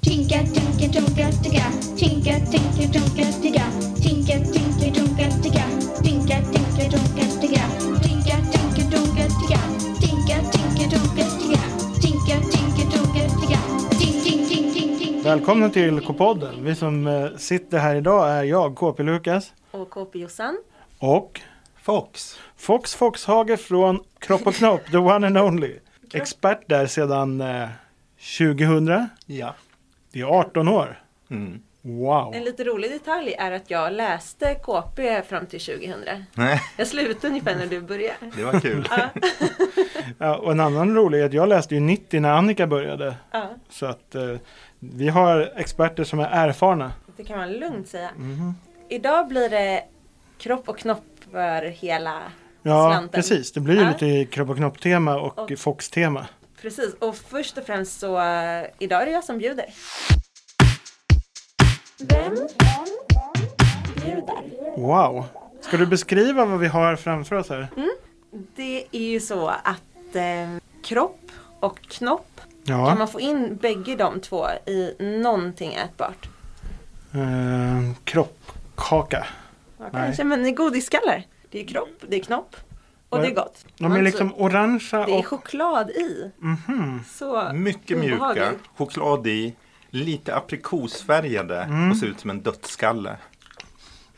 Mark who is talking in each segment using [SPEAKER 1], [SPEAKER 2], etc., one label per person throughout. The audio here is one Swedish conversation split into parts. [SPEAKER 1] Tinka, tinka, tunka, ticka. Tinka, tinka, tunka, ticka. Tinka, tinka, tunka, ticka. Tinka, tinka, tunka, ticka. Tinka, tinka, tunka, ticka. Tinka, tinka, tunka, ticka. Tinka, tinka, tunka, ticka. Tink, tink, tink, tink, tink.
[SPEAKER 2] Välkomna till K-podden. Vi som eh, sitter här idag är jag, KP Lukas
[SPEAKER 3] och KP Jossan.
[SPEAKER 2] och
[SPEAKER 4] Fox.
[SPEAKER 2] Fox Foxhage från Kropp och Knopp, the one and only. Expert där sedan eh, 2000.
[SPEAKER 4] Ja.
[SPEAKER 2] Det är 18 år.
[SPEAKER 4] Mm.
[SPEAKER 2] Wow.
[SPEAKER 3] En lite rolig detalj är att jag läste KP fram till 2000.
[SPEAKER 4] Nej,
[SPEAKER 3] Jag slutade ungefär när du började.
[SPEAKER 4] det var kul.
[SPEAKER 2] Ja, och en annan rolig är att jag läste ju 90 när Annika började.
[SPEAKER 3] Ja,
[SPEAKER 2] Så att eh, vi har experter som är erfarna.
[SPEAKER 3] det kan man lugnt säga.
[SPEAKER 2] Mhm.
[SPEAKER 3] Idag blir det kropp och knopp för hela
[SPEAKER 2] Ja,
[SPEAKER 3] slanten.
[SPEAKER 2] precis. Det blir ju
[SPEAKER 3] Ja.
[SPEAKER 2] lite Kropp och Knopp-tema och
[SPEAKER 3] Och-
[SPEAKER 2] Fox-tema.
[SPEAKER 3] Precis, och först och främst så eh, idag är det jag som bjuder.
[SPEAKER 2] Wow. Ska du beskriva vad vi har framför oss här?
[SPEAKER 3] Mm. Det är ju så att eh, kropp och knopp,
[SPEAKER 2] Ja.
[SPEAKER 3] kan man få in bägge de två i någonting ätbart?
[SPEAKER 2] Eh, kroppkaka.
[SPEAKER 3] Ja, kanske, men i godisskallar. Det är kropp, det är knopp och det är gott.
[SPEAKER 2] De är
[SPEAKER 3] Alltså,
[SPEAKER 2] liksom orangea
[SPEAKER 3] Det är
[SPEAKER 2] och...
[SPEAKER 3] choklad i.
[SPEAKER 2] Mhm.
[SPEAKER 3] Så
[SPEAKER 4] Mycket mjuka,
[SPEAKER 3] obehagligt.
[SPEAKER 4] choklad i, lite aprikosfärgade och ser ut som en dödsskalle.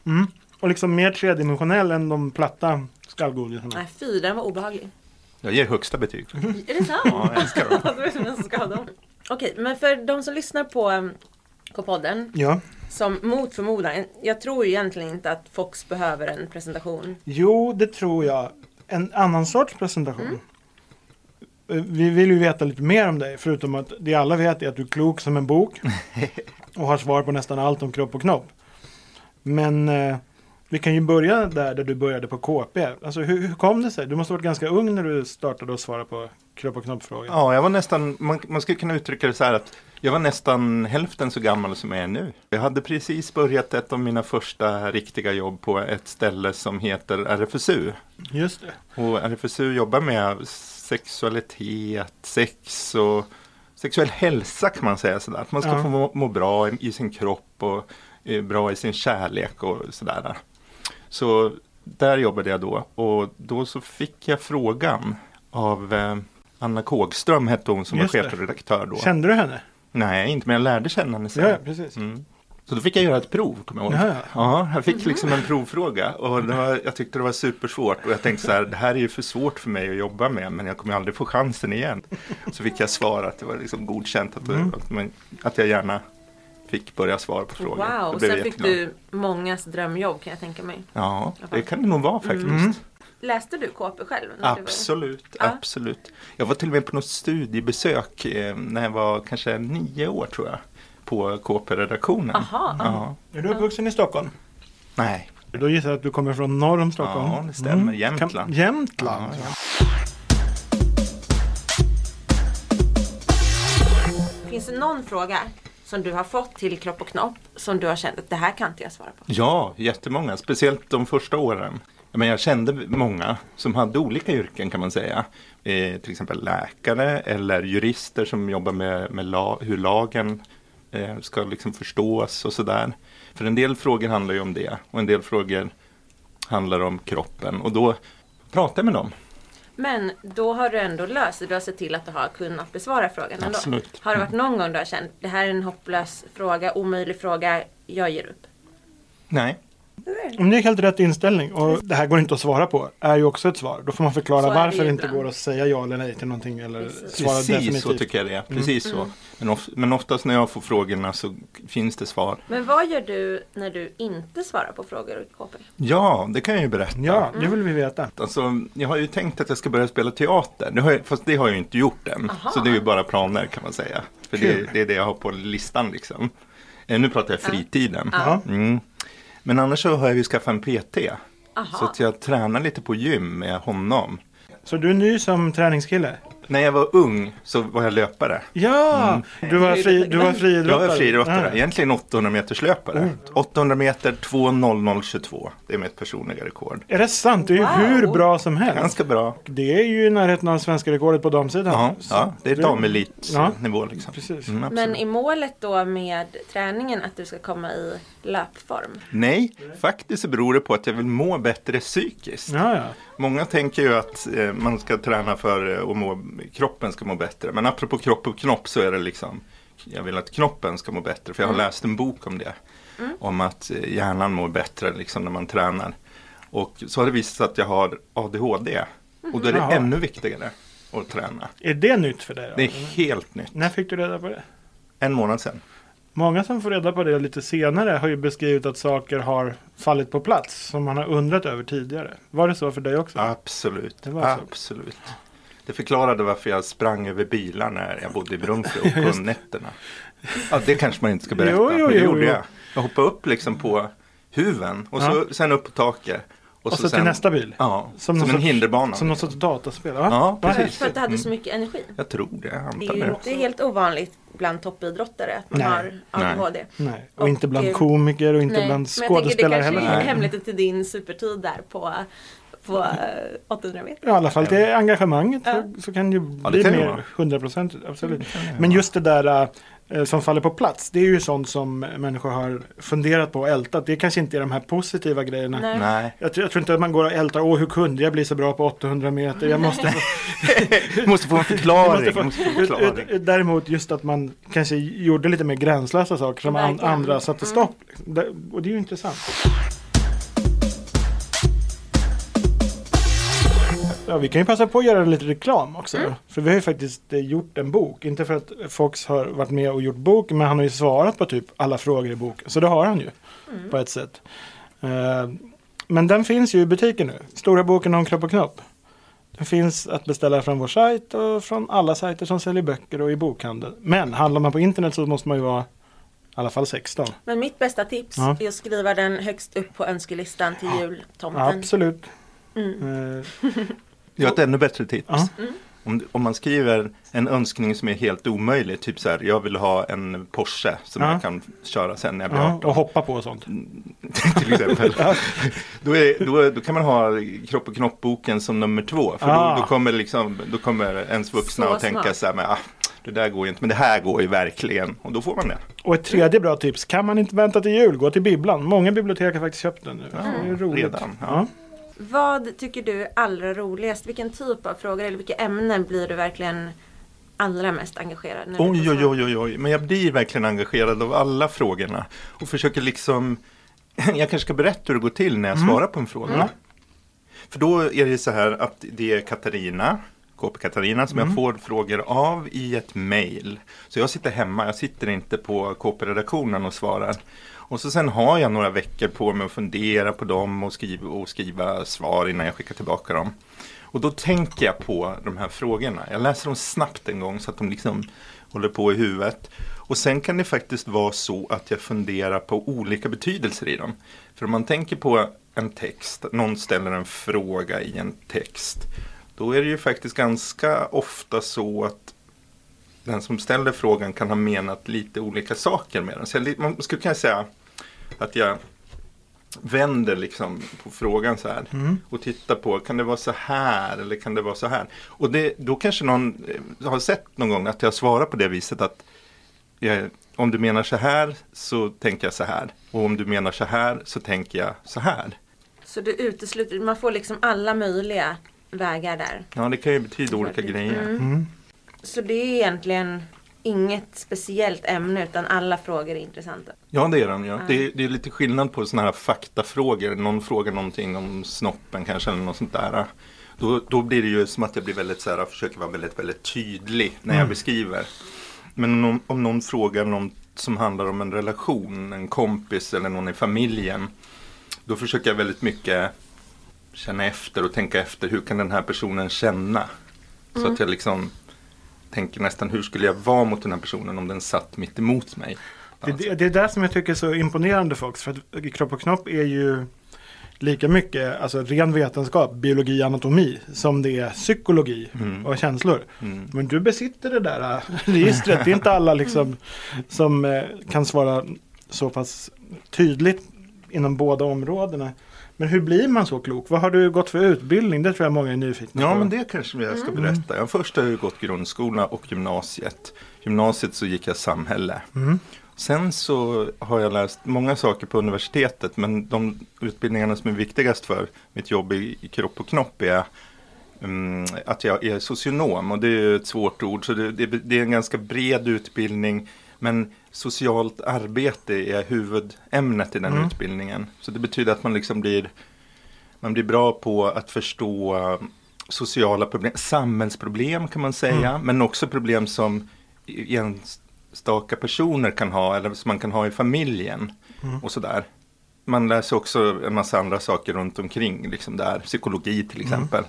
[SPEAKER 2] Mm. Och liksom mer tredimensionell än de platta skallgodisarna.
[SPEAKER 3] Nej fy, den var obehaglig.
[SPEAKER 4] Jag ger högsta betyg.
[SPEAKER 3] Är det sant?
[SPEAKER 4] Ja, jag älskar dem.
[SPEAKER 3] det var som en skada. Okej, men för de som lyssnar på um, K-podden,
[SPEAKER 2] Ja.
[SPEAKER 3] som mot förmodan, jag tror ju egentligen inte att Fox behöver en presentation.
[SPEAKER 2] Jo, det tror jag. En annan sorts presentation. Eh, Vi vill ju veta lite mer om dig, förutom att det alla vet är att du är klok som en bok och har svar på nästan allt om kropp och knopp. Men eh, vi kan ju börja där, där du började på KP. Alltså, hur, hur kom det sig? Du måste ha varit ganska ung när du startade att svara på kropp och knopp-frågor.
[SPEAKER 4] Ja, jag var nästan, man, man skulle kunna uttrycka det så här att jag var nästan hälften så gammal som jag är nu. Jag hade precis börjat ett av mina första riktiga jobb på ett ställe som heter RFSU.
[SPEAKER 2] Just det.
[SPEAKER 4] Och RFSU jobbar med sexualitet, sex och sexuell hälsa kan man säga sådär. Att man ska
[SPEAKER 2] Ja.
[SPEAKER 4] få må, må bra i, i sin kropp och eh, bra i sin kärlek och sådär. Så där jobbade jag då och då så fick jag frågan av eh, Anna Kågström hette hon som
[SPEAKER 2] Just
[SPEAKER 4] var
[SPEAKER 2] det.
[SPEAKER 4] chefredaktör då.
[SPEAKER 2] Kände du henne?
[SPEAKER 4] Nej, inte men jag lärde känna henne sen.
[SPEAKER 2] Ja, ja precis.
[SPEAKER 4] Mm. Så då fick jag göra ett prov, kommer jag ihåg.
[SPEAKER 2] Jaha.
[SPEAKER 4] Ja, jag fick liksom en provfråga och det var, jag tyckte det var supersvårt och jag tänkte så här, det här är ju för svårt för mig att jobba med men jag kommer aldrig få chansen igen. Så fick jag svara att det var liksom godkänt att, att, man, att jag gärna fick börja svara på frågor.
[SPEAKER 3] Wow,
[SPEAKER 4] Jag
[SPEAKER 3] och
[SPEAKER 4] blev
[SPEAKER 3] sen fick
[SPEAKER 4] jätteglad.
[SPEAKER 3] du mångas drömjobb kan jag tänka mig.
[SPEAKER 4] Ja, det kan det nog
[SPEAKER 3] Mm.
[SPEAKER 4] vara faktiskt.
[SPEAKER 3] Läste du KP själv? när du var-
[SPEAKER 4] Absolut,
[SPEAKER 3] Ja.
[SPEAKER 4] absolut. Jag var till och med på något studiebesök eh, när jag var kanske nio år tror jag. På KP-redaktionen.
[SPEAKER 3] Aha.
[SPEAKER 4] Ja.
[SPEAKER 2] Är du uppvuxen i Stockholm?
[SPEAKER 4] Nej,
[SPEAKER 2] Då gissar jag att du kommer från norr om Stockholm. Mm.
[SPEAKER 4] Ja, det stämmer. Jämtland.
[SPEAKER 2] Kan- Jämtland.
[SPEAKER 4] Ja,
[SPEAKER 3] Finns det någon fråga som du har fått till kropp och knopp som du har känt att det här kan inte jag svara på?
[SPEAKER 4] Ja, jättemånga. Speciellt de första åren. Men jag kände många som hade olika yrken kan man säga. Eh, till exempel läkare eller jurister som jobbar med, med la, hur lagen eh, ska liksom förstås och sådär. För en del frågor handlar ju om det och en del frågor handlar om kroppen. Och då pratade jag med dem.
[SPEAKER 3] Men då har du ändå löst det. Du har sett till att du har kunnat besvara frågan ändå.
[SPEAKER 4] Absolut.
[SPEAKER 3] Har det varit någon gång du har känt det här är en hopplös fråga, omöjlig fråga, jag ger upp?
[SPEAKER 4] Nej,
[SPEAKER 2] Om det är helt rätt inställning och det här går inte att svara på är ju också ett svar. Då får man förklara
[SPEAKER 3] Så är det
[SPEAKER 2] varför
[SPEAKER 3] ju
[SPEAKER 2] det inte
[SPEAKER 3] ibland.
[SPEAKER 2] går att säga ja eller nej till någonting eller
[SPEAKER 3] Precis.
[SPEAKER 2] svara
[SPEAKER 4] precis
[SPEAKER 2] definitivt.
[SPEAKER 4] så tycker jag det är. Precis så. Men, of, men oftast när jag får frågorna så finns det svar.
[SPEAKER 3] Men vad gör du när du inte svarar på frågor i KP?
[SPEAKER 4] Ja, det kan jag ju berätta.
[SPEAKER 2] Ja,
[SPEAKER 3] Mm.
[SPEAKER 2] det vill vi veta.
[SPEAKER 4] Alltså, jag har ju tänkt att jag ska börja spela teater, det har jag, fast det har jag ju inte gjort än.
[SPEAKER 3] Aha.
[SPEAKER 4] Så det är ju bara planer kan man säga. För
[SPEAKER 2] Kul.
[SPEAKER 4] det, det är det jag har på listan liksom. Eh, nu pratar jag fritiden.
[SPEAKER 2] Ja.
[SPEAKER 4] Mm. Men annars så har jag ju skaffat en PT.
[SPEAKER 3] Aha.
[SPEAKER 4] Så att jag tränar lite på gym med honom.
[SPEAKER 2] Så du är ny som träningskille?
[SPEAKER 4] när jag var ung så var jag löpare.
[SPEAKER 2] Ja, du var, fri, du var
[SPEAKER 4] Mm. Jag
[SPEAKER 2] friidrottare.
[SPEAKER 4] var friidrottare,
[SPEAKER 2] Ja. Mm.
[SPEAKER 4] egentligen 800 meters löpare. 800 meter 2.0022, det är mitt personliga rekord.
[SPEAKER 2] Är det sant? Det är ju
[SPEAKER 3] Wow.
[SPEAKER 2] hur bra som helst.
[SPEAKER 4] Ganska bra.
[SPEAKER 2] Det är ju i närheten av svenska rekordet på damsidan.
[SPEAKER 4] Ja,
[SPEAKER 2] Så
[SPEAKER 4] ja det är
[SPEAKER 2] du- Ja.
[SPEAKER 4] damelitnivå liksom.
[SPEAKER 2] Precis.
[SPEAKER 4] Mm, absolut.
[SPEAKER 3] Men är målet då med träningen att du ska komma i löpform?
[SPEAKER 4] Nej, faktiskt så beror det på att jag vill må bättre psykiskt.
[SPEAKER 2] Ja, ja.
[SPEAKER 4] Många tänker ju att eh, man ska träna för eh, att må, kroppen ska må bättre. Men apropå kropp och knopp så är det liksom jag vill att knoppen ska må bättre. För jag har
[SPEAKER 2] Mm.
[SPEAKER 4] läst en bok om det. Om att eh, hjärnan mår bättre liksom, när man tränar. Och så har det visat sig att jag har ADHD. Och då är det
[SPEAKER 2] Mm. Jaha.
[SPEAKER 4] ännu viktigare att träna.
[SPEAKER 2] Är det nytt för dig? Då?
[SPEAKER 4] Det är helt nytt.
[SPEAKER 2] När fick du reda på det?
[SPEAKER 4] En månad sedan.
[SPEAKER 2] Många som får reda på det lite senare har ju beskrivit att saker har fallit på plats som man har undrat över tidigare. Var det så för dig också?
[SPEAKER 4] Absolut.
[SPEAKER 2] Det var så.
[SPEAKER 4] Absolut. Det förklarade varför jag sprang över bilar när jag bodde i Brunflo på nätterna. Ja, det kanske man inte ska berätta.
[SPEAKER 2] Jo, jo,
[SPEAKER 4] men det
[SPEAKER 2] jo,
[SPEAKER 4] gjorde
[SPEAKER 2] jo.
[SPEAKER 4] jag. Jag hoppade upp liksom på huven och så, sen upp på taket.
[SPEAKER 2] Och så till nästa bil?
[SPEAKER 4] Ja, som,
[SPEAKER 2] någon
[SPEAKER 4] en
[SPEAKER 2] sorts-
[SPEAKER 4] hinderbana.
[SPEAKER 2] Som någon sorts dataspel? va?
[SPEAKER 4] Ja,
[SPEAKER 2] Va?
[SPEAKER 4] precis.
[SPEAKER 3] För att du hade så
[SPEAKER 4] Mm.
[SPEAKER 3] mycket energi.
[SPEAKER 4] Jag tror det.
[SPEAKER 3] Det
[SPEAKER 4] Jag antar
[SPEAKER 3] är ju
[SPEAKER 4] det.
[SPEAKER 3] inte helt ovanligt bland toppidrottare att man
[SPEAKER 2] Nej.
[SPEAKER 3] har ADHD.
[SPEAKER 2] Nej, och,
[SPEAKER 3] Och,
[SPEAKER 2] inte bland
[SPEAKER 3] eh,
[SPEAKER 2] komiker och inte
[SPEAKER 3] Nej,
[SPEAKER 2] bland
[SPEAKER 3] men jag tänker det
[SPEAKER 2] skådespelare
[SPEAKER 3] kanske
[SPEAKER 2] heller.
[SPEAKER 3] är
[SPEAKER 4] Nej.
[SPEAKER 3] hemligheten till din supertid där på, på eh, 800 meter.
[SPEAKER 2] Ja, I alla fall det engagemanget
[SPEAKER 3] Ja.
[SPEAKER 2] så, så kan det ju bli
[SPEAKER 4] Ja, det kan det vara. Mm,
[SPEAKER 2] mer hundraprocentigt. Absolut. Men just det där eh, som faller på plats. Det är ju sånt som människor har funderat på och ältat. Det kanske inte är de här positiva grejerna.
[SPEAKER 3] Nej.
[SPEAKER 4] Nej,
[SPEAKER 2] Jag tror, jag tror inte att man går och ältar, åh hur kunde jag bli så bra på 800 meter? Jag måste få
[SPEAKER 4] du måste få en förklaring. Du måste få en
[SPEAKER 2] Ut- ut-
[SPEAKER 4] förklaring.
[SPEAKER 2] ut- Eh, Däremot just att man kanske gjorde lite mer gränslösa saker som an,
[SPEAKER 3] Verkligen.
[SPEAKER 2] andra satte stopp. liksom. Det- Och det är ju intressant. Ja, vi kan ju passa på att göra lite reklam också. För vi har ju faktiskt eh, gjort en bok. Inte för att Fox har varit med och gjort bok, men han har ju svarat på typ alla frågor i boken. Så det har han ju på ett sätt. Eh, Men den finns ju i butiken nu. Stora boken om kropp och knopp. Den finns att beställa från vår sajt och från alla sajter som säljer böcker och i bokhandeln. Men handlar man på internet så måste man ju vara i alla fall 16.
[SPEAKER 3] Men mitt bästa tips
[SPEAKER 2] Ja.
[SPEAKER 3] är att skriva den högst upp på önskelistan till jultomten.
[SPEAKER 2] Absolut. Eh,
[SPEAKER 4] Jag har ett ännu bättre tips.
[SPEAKER 2] Ja.
[SPEAKER 4] Om, om man skriver en önskning som är helt omöjlig, typ så här, jag vill ha en Porsche som
[SPEAKER 2] Ja.
[SPEAKER 4] jag kan köra sen när jag blir
[SPEAKER 2] ja,
[SPEAKER 4] 18.
[SPEAKER 2] och hoppa på och sånt.
[SPEAKER 4] till exempel. då, är, då, då kan man ha Kropp och knoppboken som nummer två. För
[SPEAKER 2] Ah.
[SPEAKER 4] då, då, kommer liksom, då kommer ens vuxna
[SPEAKER 3] Så
[SPEAKER 4] att tänka
[SPEAKER 3] smart.
[SPEAKER 4] så här, men, ah, det där går ju inte, men det här går ju verkligen. Och då får man det.
[SPEAKER 2] Och ett tredje bra tips, kan man inte vänta till jul, gå till bibblan. Många bibliotek har faktiskt köpt den nu. det är roligt.
[SPEAKER 4] redan, ja.
[SPEAKER 2] Ja.
[SPEAKER 3] Vad tycker du är allra roligast? Vilken typ av frågor eller vilka ämnen blir du verkligen allra mest engagerad nu?
[SPEAKER 4] Oj, oj, oj, oj, oj. Men jag blir verkligen engagerad av alla frågorna. Och försöker liksom, jag kanske ska berätta hur det går till när jag svarar på en fråga. För då är det så här att det är Katarina, KP Katarina, som jag får frågor av i ett mejl. Så jag sitter hemma, jag sitter inte på KP-redaktionen och svarar. Och så sen har jag några veckor på mig att fundera på dem och skriva, och skriva svar innan jag skickar tillbaka dem. Och då tänker jag på de här frågorna. Jag läser dem snabbt en gång så att de liksom håller på i huvudet. Och sen kan det faktiskt vara så att jag funderar på olika betydelser i dem. För om man tänker på en text, någon ställer en fråga i en text. Då är det ju faktiskt ganska ofta så att den som ställer frågan kan ha menat lite olika saker med den. Så jag, li- man skulle kunna säga att jag vänder liksom på frågan så här och tittar på, kan det vara så här eller kan det vara så här? Och det, då kanske någon eh, har sett någon gång att jag svarar på det viset att jag, om du menar så här så tänker jag så här och om du menar så här så tänker jag så här.
[SPEAKER 3] Så du utesluter, man får liksom alla möjliga vägar där.
[SPEAKER 4] Ja, det kan ju betyda olika grejer.
[SPEAKER 3] Så det är egentligen inget speciellt ämne utan alla frågor är intressanta.
[SPEAKER 4] Ja, det är de ju. Det, är- det är lite skillnad på sådana här faktafrågor. Någon frågar någonting om snoppen kanske eller något sånt där. Då, då blir det ju som att jag blir väldigt så här, försöker vara väldigt, väldigt tydlig när jag beskriver. Men om, om någon frågar någon som handlar om en relation, en kompis eller någon i familjen. Då försöker jag väldigt mycket känna efter och tänka efter. Hur kan den här personen känna? Så att jag liksom tänker nästan hur skulle jag vara mot den här personen om den satt mitt emot mig? Alltså.
[SPEAKER 2] Det, det, det är det som jag tycker är så imponerande Fox. För att Kropp och knopp är ju lika mycket alltså, ren vetenskap, biologi, anatomi som det är psykologi
[SPEAKER 4] Mm.
[SPEAKER 2] och känslor. Men du besitter det där äh, registret. Det är inte alla liksom, som eh, kan svara så pass tydligt inom båda områdena. Men hur blir man så klok? Vad har du gått för utbildning? Det tror jag många är nyfikna
[SPEAKER 4] Ja,
[SPEAKER 2] på.
[SPEAKER 4] men det kanske jag ska berätta. Jag först har jag gått grundskola och gymnasiet. Gymnasiet så gick jag samhälle. Sen så har jag läst många saker på universitetet, men de utbildningarna som är viktigast för mitt jobb i i kropp och knopp är mm, att jag är socionom och det är ju ett svårt ord, så det, det, det är en ganska bred utbildning. Men socialt arbete är huvudämnet i den utbildningen. Så det betyder att man liksom blir man blir bra på att förstå eh, sociala problem, samhällsproblem kan man säga, men också problem som i- enstaka personer kan ha eller som man kan ha i familjen och sådär. Man läser också en massa andra saker runt omkring, liksom där, psykologi till exempel.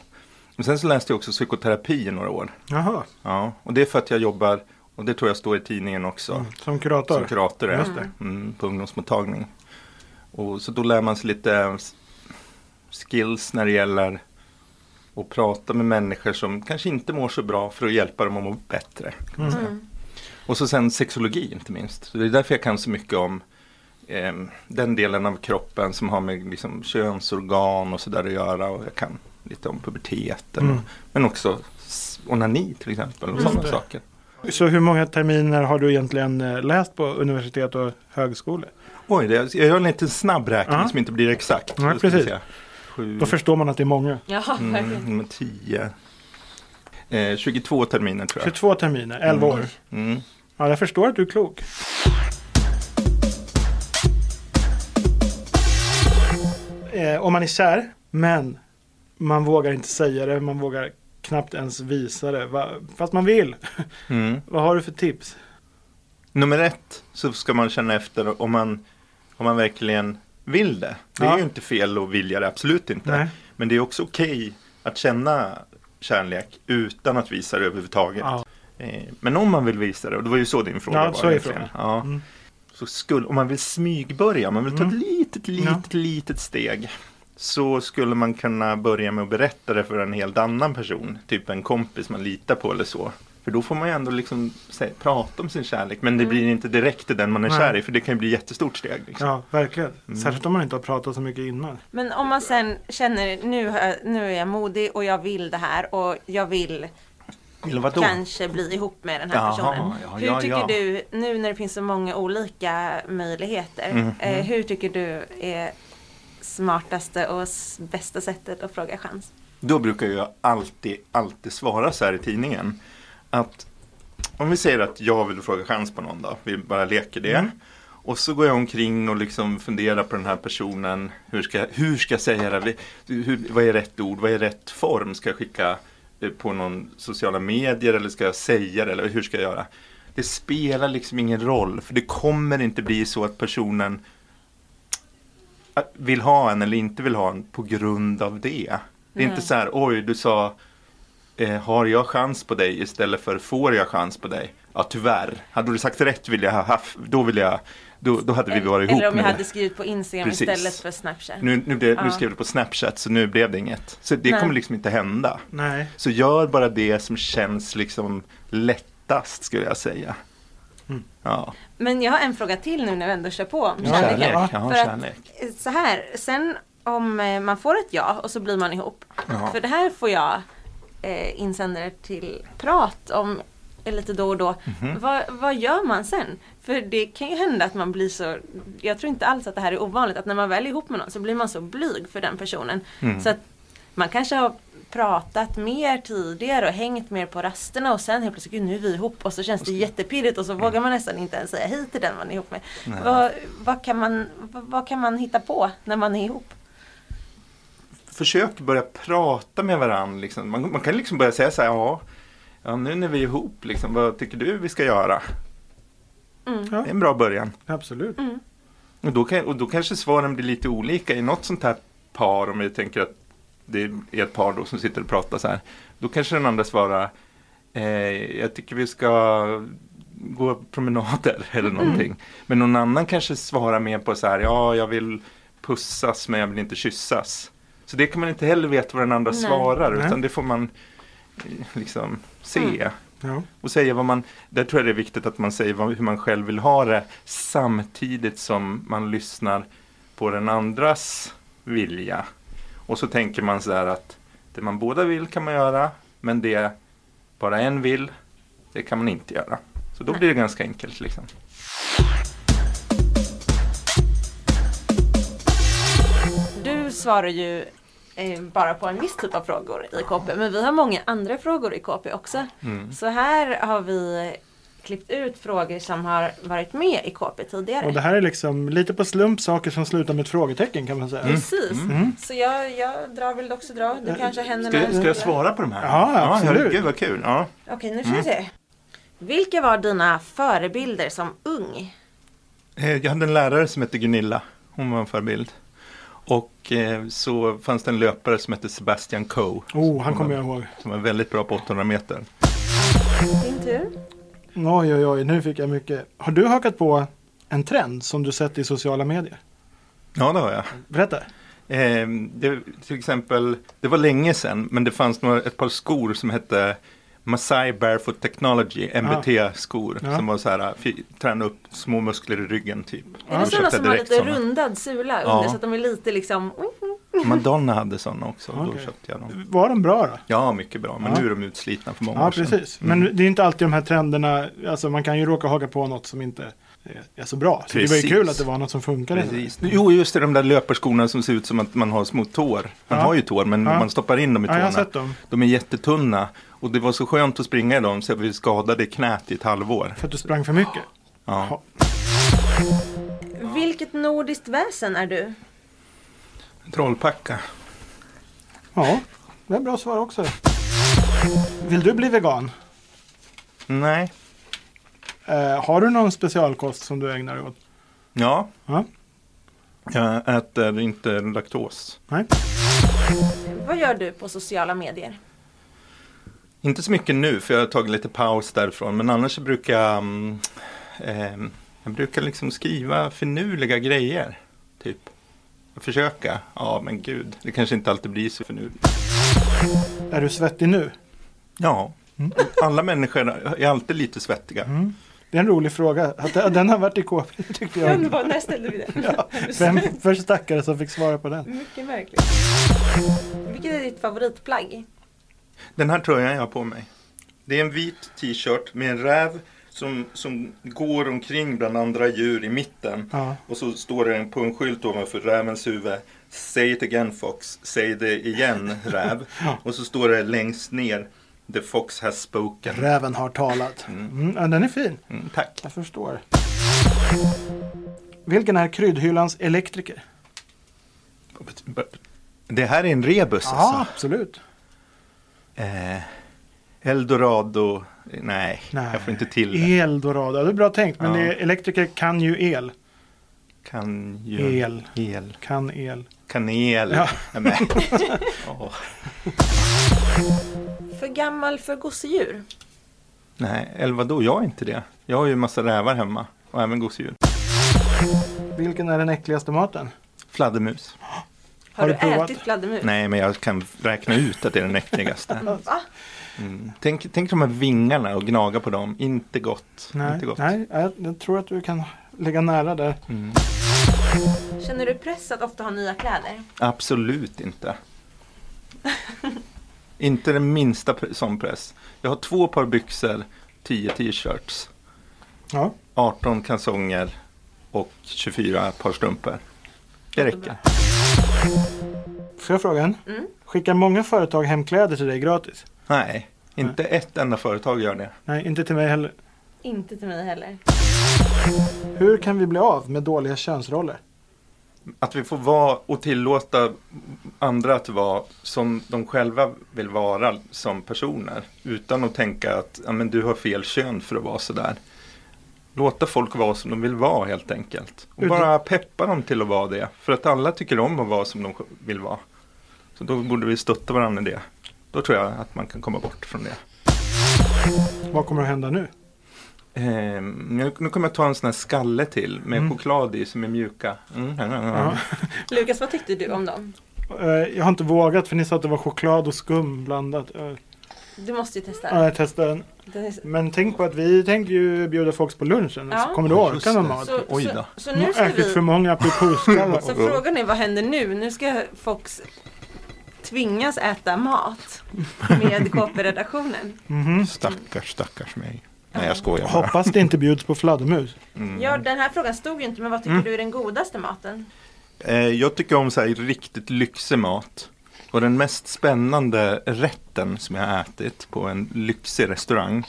[SPEAKER 4] Men sen så läste jag också psykoterapi i några år.
[SPEAKER 2] Jaha,
[SPEAKER 4] Ja, och det är för att jag jobbar, och det tror jag står i tidningen också,
[SPEAKER 2] som kurator.
[SPEAKER 4] som kurator är. Mm, på ungdomsmottagning. Och så då lär man sig lite s- skills när det gäller att prata med människor som kanske inte mår så bra för att hjälpa dem att må bättre. Kan
[SPEAKER 2] Mm.
[SPEAKER 4] man säga. Och så sen sexologi inte minst. Så det är därför jag kan så mycket om eh, den delen av kroppen som har med liksom, könsorgan och sådär att göra. Och jag kan lite om puberteten.
[SPEAKER 2] Mm.
[SPEAKER 4] Och, men också s- onani till exempel och sådana saker.
[SPEAKER 2] Så hur många terminer har du egentligen eh, läst på universitet och högskolor?
[SPEAKER 4] Oj, det, jag gör en liten snabb räkning
[SPEAKER 2] Ja.
[SPEAKER 4] som inte blir exakt.
[SPEAKER 2] Nej,
[SPEAKER 4] Då ska vi
[SPEAKER 2] precis.
[SPEAKER 4] se. Sju,
[SPEAKER 2] Då förstår man att det är många.
[SPEAKER 3] Ja, verkligen.
[SPEAKER 4] mm, tio. Eh, 22 terminer tror jag.
[SPEAKER 2] 22 terminer, 11 år.
[SPEAKER 4] Mm.
[SPEAKER 2] Ja, jag förstår att du är klok. Eh, om man är kär, men man vågar inte säga det, man vågar knappt ens visa det. Va? Fast man vill.
[SPEAKER 4] Mm.
[SPEAKER 2] Vad har du för tips?
[SPEAKER 4] Nummer ett så ska man känna efter om man, om man verkligen vill det. Det
[SPEAKER 2] Ja.
[SPEAKER 4] är ju inte fel att vilja det, absolut inte.
[SPEAKER 2] Nej.
[SPEAKER 4] Men det är också okej att känna kärlek utan att visa det överhuvudtaget.
[SPEAKER 2] Ja.
[SPEAKER 4] Eh, Men om man vill visa det, och det var ju så din fråga
[SPEAKER 2] Ja,
[SPEAKER 4] var.
[SPEAKER 2] så är
[SPEAKER 4] egentligen.
[SPEAKER 2] frågan.
[SPEAKER 4] Ja.
[SPEAKER 2] Mm.
[SPEAKER 4] Så skulle, om man vill smygbörja, om man vill ta ett litet, litet, litet steg. Så skulle man kunna börja med att berätta det för en helt annan person. Typ en kompis man litar på eller så. För då får man ju ändå liksom sä- prata om sin kärlek. Men det blir inte direkt till den man är
[SPEAKER 2] Nej.
[SPEAKER 4] kär i. För det kan ju bli ett jättestort steg. Liksom.
[SPEAKER 2] Ja, verkligen. Särskilt om man inte har pratat så mycket innan.
[SPEAKER 3] Men om man sen känner nu, har jag- nu är jag modig och jag vill det här och jag vill
[SPEAKER 4] Eller vadå?
[SPEAKER 3] kanske bli ihop med den här
[SPEAKER 4] Jaha,
[SPEAKER 3] personen.
[SPEAKER 4] ja,
[SPEAKER 3] hur
[SPEAKER 4] ja,
[SPEAKER 3] tycker
[SPEAKER 4] ja.
[SPEAKER 3] du, nu när det finns så många olika möjligheter,
[SPEAKER 4] Mm,
[SPEAKER 3] eh, hur tycker du är smartaste och s- bästa sättet att fråga chans?
[SPEAKER 4] Då brukar jag alltid, alltid svara så här i tidningen. Att om vi säger att jag vill fråga chans på någon då. Vi bara leker det. Och så går jag omkring och liksom funderar på den här personen. Hur ska, hur ska jag säga det? här? Hur, vad är rätt ord? Vad är rätt form? Ska jag skicka eh, på någon sociala medier eller ska jag säga det? Eller hur ska jag göra? Det spelar liksom ingen roll. För det kommer inte bli så att personen vill ha en eller inte vill ha en på grund av det. Det
[SPEAKER 3] Mm.
[SPEAKER 4] är inte så här, oj du sa eh, har jag chans på dig istället för får jag chans på dig? Ja tyvärr, hade du sagt rätt vill jag ha haft, då vill jag, då, då hade vi varit ihop.
[SPEAKER 3] Eller om jag
[SPEAKER 4] men-
[SPEAKER 3] hade skrivit på Instagram
[SPEAKER 4] Precis.
[SPEAKER 3] istället för Snapchat.
[SPEAKER 4] nu, nu, blev,
[SPEAKER 3] Ja.
[SPEAKER 4] nu skrev du på Snapchat så nu blev det inget. Så det
[SPEAKER 3] Nej.
[SPEAKER 4] kommer liksom inte hända.
[SPEAKER 2] Nej.
[SPEAKER 4] Så gör bara det som känns liksom lättast skulle jag säga. Ja,
[SPEAKER 3] Men jag har en fråga till nu när vi ändå kör på om
[SPEAKER 2] Ja,
[SPEAKER 3] kärleken.
[SPEAKER 4] kärlek. Ja,
[SPEAKER 3] För att-
[SPEAKER 4] kärlek.
[SPEAKER 3] Så här, sen om eh, man får ett ja och så blir man ihop.
[SPEAKER 4] Ja.
[SPEAKER 3] För det här får jag eh, insändare till prat om eh, lite då och då. Vad, vad gör man sen? För det kan ju hända att man blir så, jag tror inte alls att det här är ovanligt, att när man väl är ihop med någon så blir man så blyg för den personen. Så att man kanske har pratat mer tidigare och hängt mer på rasterna och sen helt plötsligt, gud nu är vi ihop och så känns det jättepirrigt och så vågar man nästan inte ens säga hej till den man är ihop med. Vad, vad, kan man, vad, vad kan man hitta på när man är ihop?
[SPEAKER 4] försök börja prata med varandra. Liksom. Man, man kan liksom börja säga så här, ja, ja nu när vi är ihop, liksom, vad tycker du vi ska göra? Det är en bra början.
[SPEAKER 2] Absolut.
[SPEAKER 4] Och då, kan, och då kanske svaren blir lite olika i något sånt här par, om vi tänker att det är ett par då som sitter och pratar så här. Då kanske den andra svarar, eh, jag tycker vi ska gå promenader eller någonting. Men någon annan kanske svarar mer på så här, ja jag vill pussas men jag vill inte kyssas. Så det kan man inte heller veta vad den andra
[SPEAKER 3] Nej.
[SPEAKER 4] svarar
[SPEAKER 2] Nej.
[SPEAKER 4] utan det får man eh, liksom se.
[SPEAKER 2] Ja.
[SPEAKER 4] Och säga vad man, där tror jag det är viktigt att man säger vad, hur man själv vill ha det samtidigt som man lyssnar på den andras vilja. Och så tänker man så här att det man båda vill kan man göra men det bara en vill, det kan man inte göra. Så då blir det ganska enkelt liksom.
[SPEAKER 3] Du svarar ju eh, bara på en viss typ av frågor i KP, men vi har många andra frågor i KP också.
[SPEAKER 4] Mm.
[SPEAKER 3] Så här har vi klippt ut frågor som har varit med i KP tidigare.
[SPEAKER 2] Och det här är liksom lite på slump saker som slutar med ett frågetecken kan man säga.
[SPEAKER 4] Mm.
[SPEAKER 3] Precis, så jag, jag drar väl också dra. Det kanske händer
[SPEAKER 4] Ska,
[SPEAKER 3] några-
[SPEAKER 4] ska jag svara Mm. på de här?
[SPEAKER 2] Ja, absolut.
[SPEAKER 4] herregud vad kul. Ja.
[SPEAKER 3] Okej, nu ska vi se. Vilka var dina förebilder som ung?
[SPEAKER 4] Eh, Jag hade en lärare som hette Gunilla. Hon var en förebild. Och eh, så fanns det en löpare som hette Sebastian Coe.
[SPEAKER 2] Oh, han
[SPEAKER 4] Som
[SPEAKER 2] kommer jag
[SPEAKER 4] var-
[SPEAKER 2] ihåg.
[SPEAKER 4] Som var väldigt bra på 800 meter.
[SPEAKER 3] Din tur.
[SPEAKER 2] Oj, oj, oj, nu fick jag mycket. Har du hakat på en trend som du sett i sociala medier?
[SPEAKER 4] Ja, det har jag.
[SPEAKER 2] Berätta.
[SPEAKER 4] Eh, det, till exempel, det var länge sedan, men det fanns några, ett par skor som hette Masai Barefoot Technology, MBT-skor.
[SPEAKER 2] Ja.
[SPEAKER 4] Som var så här, fy- träna upp små muskler i ryggen typ.
[SPEAKER 3] Är det
[SPEAKER 4] Då köpte
[SPEAKER 3] sådana
[SPEAKER 4] jag
[SPEAKER 3] som har
[SPEAKER 4] direkt
[SPEAKER 3] lite
[SPEAKER 4] såna.
[SPEAKER 3] rundad sula
[SPEAKER 4] Ja.
[SPEAKER 3] under så att de är lite liksom...
[SPEAKER 4] Madonna hade sådana också, och då
[SPEAKER 2] Okej.
[SPEAKER 4] köpte jag dem.
[SPEAKER 2] Var de bra då?
[SPEAKER 4] Ja, mycket bra, men
[SPEAKER 2] Ja.
[SPEAKER 4] nu är de utslitna för många
[SPEAKER 2] Ja,
[SPEAKER 4] år sedan. Mm.
[SPEAKER 2] precis. Men det är inte alltid de här trenderna, alltså man kan ju råka haka på något som inte är- är så bra. Så det var ju
[SPEAKER 4] Precis.
[SPEAKER 2] kul att det var något som funkade.
[SPEAKER 4] Precis. Jo, just det, de där löparskorna som ser ut som att man har små tår. Man
[SPEAKER 2] Ja.
[SPEAKER 4] har ju tår, men
[SPEAKER 2] Ja.
[SPEAKER 4] man stoppar in dem i
[SPEAKER 2] Ja, jag har
[SPEAKER 4] tårna.
[SPEAKER 2] sett dem.
[SPEAKER 4] De är jättetunna. Och det var så skönt att springa i dem så jag blev skadad i knät i ett halvår.
[SPEAKER 2] För att du sprang för mycket.
[SPEAKER 4] Ja.
[SPEAKER 3] Vilket nordiskt väsen är du?
[SPEAKER 4] Trollpacka.
[SPEAKER 2] Ja, det är bra svar också. Vill du bli vegan?
[SPEAKER 4] Nej.
[SPEAKER 2] Eh, har du någon specialkost som du ägnar dig åt?
[SPEAKER 4] Ja,
[SPEAKER 2] Ja,
[SPEAKER 4] jag äter inte laktos.
[SPEAKER 2] nej.
[SPEAKER 3] Vad gör du på sociala medier?
[SPEAKER 4] Inte så mycket nu, för jag har tagit lite paus därifrån. Men annars så brukar jag, mm, ehm, jag brukar liksom skriva finurliga grejer. Typ. Försöka. Ja, men gud. Det kanske inte alltid blir så finurligt.
[SPEAKER 2] Är du svettig nu?
[SPEAKER 4] Ja, Mm. alla människor är alltid lite svettiga.
[SPEAKER 2] Mm. Det är en rolig fråga. Att att den har varit i KP tyckte jag.
[SPEAKER 3] Underbar, när ställde vi den?
[SPEAKER 2] Vem för stackare som fick svara på den?
[SPEAKER 3] Mycket märkligt. Vilket är ditt favoritplagg?
[SPEAKER 4] Den här tröjan jag har på mig. Det är en vit t-shirt med en räv som, som går omkring bland andra djur i mitten.
[SPEAKER 2] Ja.
[SPEAKER 4] Och så står det en- på en skylt ovanför rävens huvud. Say it again Fox, säg det igen räv. Och så står det längst ner The Fox has spoken.
[SPEAKER 2] Räven har talat. Mm, ja, den är fin.
[SPEAKER 4] Mm, tack.
[SPEAKER 2] Jag förstår. Vilken är kryddhyllans elektriker?
[SPEAKER 4] Det här är en rebus
[SPEAKER 2] Ja,
[SPEAKER 4] alltså.
[SPEAKER 2] absolut.
[SPEAKER 4] Eh, Eldorado, nej,
[SPEAKER 2] Nej.
[SPEAKER 4] jag får inte till det.
[SPEAKER 2] Eldorado, Ja, det är bra tänkt. Men
[SPEAKER 4] Ja.
[SPEAKER 2] det är, elektriker kan ju el.
[SPEAKER 4] Kan ju...
[SPEAKER 2] El.
[SPEAKER 4] El.
[SPEAKER 2] Kan el.
[SPEAKER 4] Kanel.
[SPEAKER 2] Ja.
[SPEAKER 4] Nej, men. Åh,
[SPEAKER 3] För gammal för gosedjur?
[SPEAKER 4] nej, eller vadå, jag är inte det. Jag har ju en massa rävar hemma och även gosedjur.
[SPEAKER 2] Vilken är den äckligaste maten?
[SPEAKER 4] Fladdermus.
[SPEAKER 3] Har,
[SPEAKER 2] Har
[SPEAKER 3] du
[SPEAKER 2] du provat?
[SPEAKER 3] ätit fladdermus?
[SPEAKER 4] Nej, men jag kan räkna ut att det är den äckligaste.
[SPEAKER 3] Va?
[SPEAKER 4] Mm. Tänk, tänk de här vingarna och gnaga på dem. Inte gott.
[SPEAKER 2] Nej,
[SPEAKER 4] inte gott.
[SPEAKER 2] nej jag, jag tror att du kan ligga nära där.
[SPEAKER 3] Känner du press att ofta ha nya kläder?
[SPEAKER 4] Absolut inte. inte den minsta pre- sån press. Jag har två par byxor, tio t-shirts,
[SPEAKER 2] Ja.
[SPEAKER 4] 18 kalsonger och 24 par strumpor. Det räcker.
[SPEAKER 2] Får jag fråga en? Skickar många företag hem kläder till dig gratis?
[SPEAKER 4] Nej, inte ett enda företag gör det.
[SPEAKER 2] Nej, inte till mig heller.
[SPEAKER 3] Inte till mig heller.
[SPEAKER 2] Hur kan vi bli av med dåliga könsroller?
[SPEAKER 4] Att vi får vara och tillåta andra att vara som de själva vill vara som personer. Utan att tänka att ja, men du har fel kön för att vara sådär. Låta folk vara som de vill vara helt enkelt. Och
[SPEAKER 2] Ut-
[SPEAKER 4] bara peppa dem till att vara det. För att alla tycker om att vara som de sj- vill vara. Så då borde vi stötta varandra i det. Då tror jag att man kan komma bort från det.
[SPEAKER 2] Vad kommer att hända nu?
[SPEAKER 4] Eh, nu, nu kommer jag ta en sån här skalle till med choklad i som är mjuka. Mm.
[SPEAKER 2] Ja.
[SPEAKER 3] Lukas, vad tyckte du om dem?
[SPEAKER 2] Eh, Jag har inte vågat för ni sa att det var choklad och skum blandat. Eh,
[SPEAKER 3] Du måste ju testa.
[SPEAKER 2] Ja, jag testar den.
[SPEAKER 3] Den är så-
[SPEAKER 2] Men tänk på att vi tänker ju bjuda folk på lunchen.
[SPEAKER 3] Ja.
[SPEAKER 2] Så kommer du
[SPEAKER 4] Ja, just
[SPEAKER 2] orka någon
[SPEAKER 4] det.
[SPEAKER 2] mat?
[SPEAKER 3] Så,
[SPEAKER 4] Oj
[SPEAKER 3] så,
[SPEAKER 4] då.
[SPEAKER 3] så
[SPEAKER 2] Nu
[SPEAKER 3] nu
[SPEAKER 2] har
[SPEAKER 3] ska
[SPEAKER 2] ätit för
[SPEAKER 3] vi...
[SPEAKER 2] många aprikosskallar.
[SPEAKER 3] Så frågan är vad händer nu? Nu ska Fox tvingas äta mat med KP-redaktionen.
[SPEAKER 2] Mhm.
[SPEAKER 4] Stackars, stackars mig. Nej, jag skojar bara.
[SPEAKER 2] Hoppas det inte bjuds på fladdermus.
[SPEAKER 4] Mm.
[SPEAKER 3] Ja, den här frågan stod ju inte, men vad tycker
[SPEAKER 2] Mm.
[SPEAKER 3] du är den godaste maten?
[SPEAKER 4] Eh, jag tycker om så här riktigt lyxig mat. Och den mest spännande rätten som jag har ätit på en lyxig restaurang.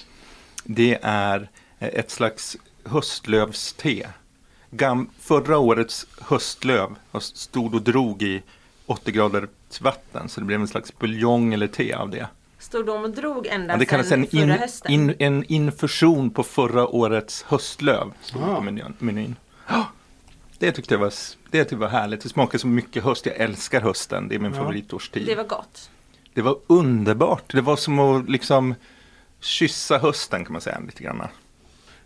[SPEAKER 4] Det är eh, ett slags höstlövste. Gam- förra årets höstlöv har stod och drog i 80 grader vatten. Så det blev en slags buljong eller te av det.
[SPEAKER 3] Stod de och drog ända
[SPEAKER 4] Ja, det kallas en,
[SPEAKER 3] sedan förra
[SPEAKER 4] in,
[SPEAKER 3] hösten?
[SPEAKER 4] in, en infusion på förra årets höstlöv. Stod det
[SPEAKER 2] Ah.
[SPEAKER 4] på menyn. menyn. Ja, Det tyckte jag var, s- det tyckte jag var härligt. Det smakar så mycket höst. Jag älskar hösten. Det är min
[SPEAKER 2] Ja.
[SPEAKER 4] favoritårstid.
[SPEAKER 3] Det var gott.
[SPEAKER 4] det var underbart. Det var som att liksom kyssa hösten kan man säga lite grann.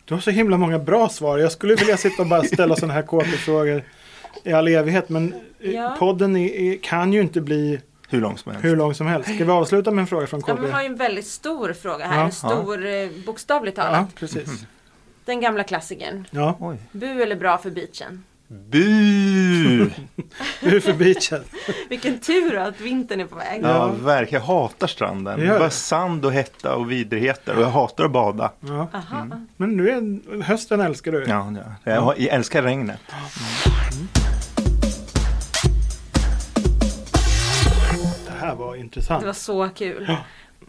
[SPEAKER 2] Du har så himla många bra svar. Jag skulle vilja sitta och bara ställa sådana här KP-frågor i all evighet. Men eh,
[SPEAKER 3] Ja.
[SPEAKER 2] podden är, är, kan ju inte bli
[SPEAKER 4] Hur långt som helst.
[SPEAKER 2] hur lång som helst. Ska vi avsluta med en fråga från
[SPEAKER 3] Ja,
[SPEAKER 2] KB?
[SPEAKER 3] men har ju en väldigt stor fråga här,
[SPEAKER 2] Ja,
[SPEAKER 3] en stor eh, bokstavligt talat.
[SPEAKER 2] Ja, precis.
[SPEAKER 3] Den gamla klassikern.
[SPEAKER 2] Ja,
[SPEAKER 4] Oj.
[SPEAKER 3] Bu eller bra för beachen?
[SPEAKER 4] Bu!
[SPEAKER 2] ur för beachen.
[SPEAKER 3] Vilken tur att vintern är på väg.
[SPEAKER 4] Ja, verkligen. Jag hatar stranden.
[SPEAKER 2] Det gör
[SPEAKER 4] Det var
[SPEAKER 2] det.
[SPEAKER 4] sand och hetta och vidrigheter. Och jag hatar att bada.
[SPEAKER 2] Ja.
[SPEAKER 3] Aha.
[SPEAKER 2] Men nu är, hösten älskar du.
[SPEAKER 4] Ja, ja. Jag, jag älskar regnet.
[SPEAKER 2] Det här var
[SPEAKER 3] Det var
[SPEAKER 2] intressant.
[SPEAKER 3] så kul.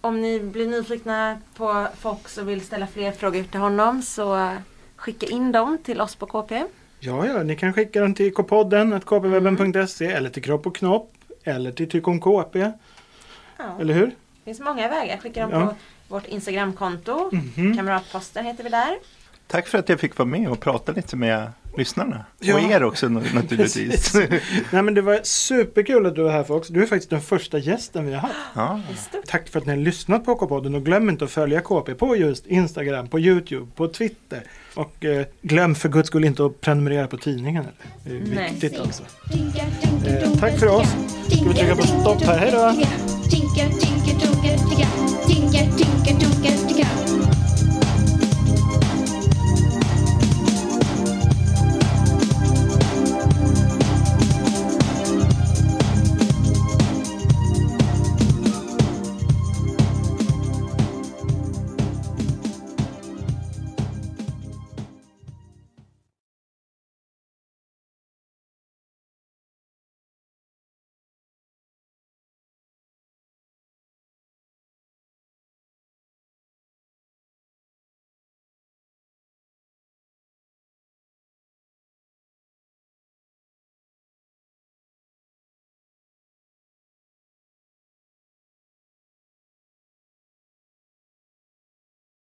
[SPEAKER 3] Om ni blir nyfikna på Fox och vill ställa fler frågor till honom så skicka in dem till oss på KP.
[SPEAKER 2] Ja, ja, ni kan skicka den till kpodden, kpwebben.se e eller till Kropp och Knopp eller till Tyck om KP.
[SPEAKER 3] Ja, det
[SPEAKER 2] Eller hur?
[SPEAKER 3] finns många vägar. Skicka dem
[SPEAKER 2] Ja. Mhm.
[SPEAKER 3] på vårt Instagramkonto. Kamratposten heter vi där.
[SPEAKER 4] Tack för att jag fick vara med och prata lite med lyssnarna.
[SPEAKER 2] Ja.
[SPEAKER 4] Och er också na- naturligtvis.
[SPEAKER 2] Nej men det var superkul att du var här Fox. Du är faktiskt den första gästen vi har haft.
[SPEAKER 4] ja.
[SPEAKER 3] Det är stort.
[SPEAKER 2] Tack för att ni har lyssnat på K-podden och glöm inte att följa KP på just Instagram, på Youtube, på Twitter. Och eh, glöm för guds skull inte att prenumerera på tidningen. eller? Det är
[SPEAKER 3] Nej.
[SPEAKER 2] viktigt alltså.
[SPEAKER 1] Eh, tack för oss. Ska vi trycka på stopp här? Hej då!